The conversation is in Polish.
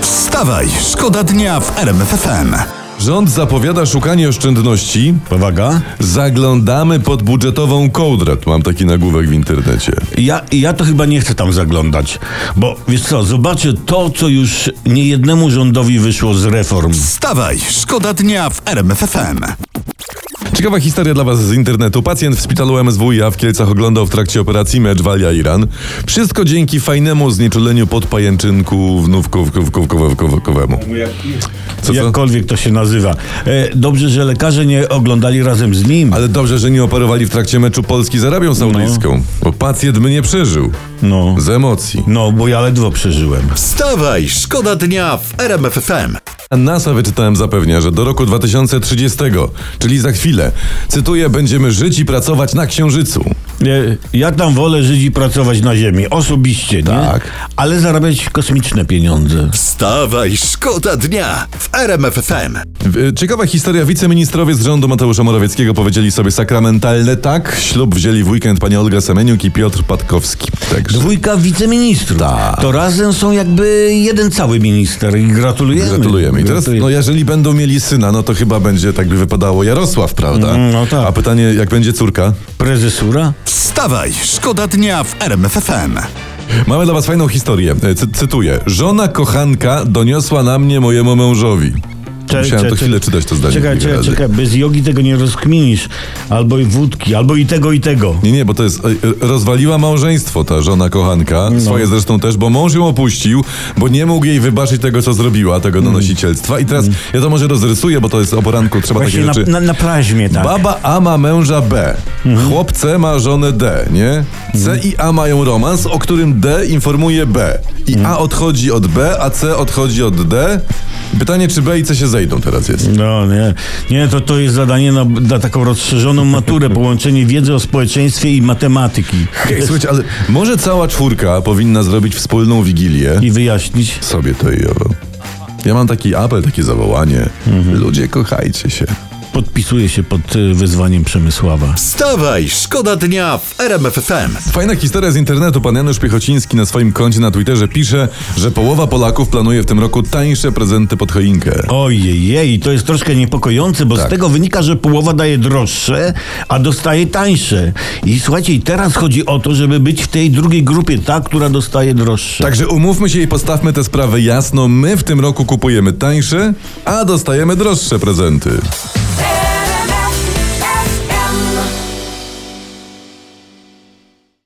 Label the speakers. Speaker 1: Wstawaj, szkoda dnia w RMFFM.
Speaker 2: Rząd zapowiada szukanie oszczędności.
Speaker 3: Uwaga.
Speaker 2: Zaglądamy pod budżetową kołdrę. Tu mam taki nagłówek w internecie.
Speaker 3: Ja, ja to chyba nie chcę tam zaglądać, bo wiesz co, zobaczę to, co już niejednemu rządowi wyszło z reform.
Speaker 1: Wstawaj, szkoda dnia w RMFFM.
Speaker 2: Ciekawa historia dla Was z internetu. Pacjent w szpitalu MSWiA w Kielcach oglądał w trakcie operacji mecz Walia-Iran. Wszystko dzięki fajnemu znieczuleniu podpajęczynku wnówkowemu. Co to?
Speaker 3: Jakkolwiek to się nazywa. E, dobrze, że lekarze nie oglądali razem z nim.
Speaker 2: Ale dobrze, że nie operowali w trakcie meczu Polski z Arabią Saudyjską, bo pacjent mnie przeżył.
Speaker 3: No,
Speaker 2: Z emocji.
Speaker 3: no, bo ja ledwo przeżyłem.
Speaker 1: Wstawaj, szkoda dnia w RMFFM.
Speaker 2: A NASA wyczytałem zapewnia, że do roku 2030, czyli za chwilę, cytuję, będziemy żyć i pracować na Księżycu.
Speaker 3: E, ja tam wolę żyć i pracować na ziemi, osobiście, nie?
Speaker 2: Tak.
Speaker 3: Ale zarabiać kosmiczne pieniądze.
Speaker 1: Wstawaj, szkoda dnia w RMFFM.
Speaker 2: W- y, Ciekawa historia. Wiceministrowie z rządu Mateusza Morawieckiego powiedzieli sobie sakramentalne tak. Ślub wzięli w weekend pani Olga Semeniuk i Piotr Patkowski. Także
Speaker 3: Dwójka wiceministrów.
Speaker 2: Tak.
Speaker 3: To razem są jakby jeden cały minister i gratulujemy.
Speaker 2: gratulujemy. I teraz, no jeżeli będą mieli syna, no to chyba będzie, tak by wypadało, Jarosław, prawda?
Speaker 3: Mm, no tak.
Speaker 2: A pytanie, jak będzie córka?
Speaker 3: Prezesura?
Speaker 1: Wstawaj, szkoda dnia w RMFFM.
Speaker 2: Mamy dla was fajną historię. E, Cy cytuję. Żona kochanka doniosła na mnie mojemu mężowi. Musiałem to chwilę czytać to zdanie.
Speaker 3: Czekaj,
Speaker 2: kilka
Speaker 3: czekaj,
Speaker 2: razy.
Speaker 3: czekaj, bez jogi tego nie rozkminisz. Albo i wódki, albo i tego, i tego.
Speaker 2: Nie, nie, bo to jest. e, e, Rozwaliła małżeństwo ta żona kochanka.
Speaker 3: No.
Speaker 2: Swoje zresztą też, bo mąż ją opuścił, bo nie mógł jej wybaczyć tego, co zrobiła, tego
Speaker 3: Mm.
Speaker 2: donosicielstwa. I teraz ja to może rozrysuję, bo to jest o poranku, trzeba
Speaker 3: Właśnie
Speaker 2: takie
Speaker 3: na,
Speaker 2: rzeczy.
Speaker 3: na, na praźmie, tak.
Speaker 2: Baba A ma męża B. Chłop C ma żonę D, nie? C i A mają romans, o którym D informuje B. I A odchodzi od B, a C odchodzi od D. Pytanie, czy B i C się zejdą teraz jest.
Speaker 3: No nie, nie to, to jest zadanie na, na taką rozszerzoną maturę, połączenie wiedzy o społeczeństwie i matematyki.
Speaker 2: Hej, słuchajcie, ale może cała czwórka powinna zrobić wspólną wigilię?
Speaker 3: I wyjaśnić.
Speaker 2: sobie to i owo. Ja mam taki apel, takie zawołanie. Ludzie, kochajcie się.
Speaker 3: Podpisuję się pod y, wyzwaniem Przemysława.
Speaker 1: Wstawaj, szkoda dnia w RMFFM.
Speaker 2: Fajna historia z internetu. Pan Janusz Piechociński na swoim koncie na Twitterze pisze, że połowa Polaków planuje w tym roku tańsze prezenty pod choinkę.
Speaker 3: Ojej, to jest troszkę niepokojące,
Speaker 2: Tak.
Speaker 3: bo z tego wynika, że połowa daje droższe, a dostaje tańsze. I słuchajcie, i teraz chodzi o to, żeby być w tej drugiej grupie, ta, która dostaje droższe.
Speaker 2: Także umówmy się i postawmy te sprawy jasno. My w tym roku kupujemy tańsze, a dostajemy droższe prezenty.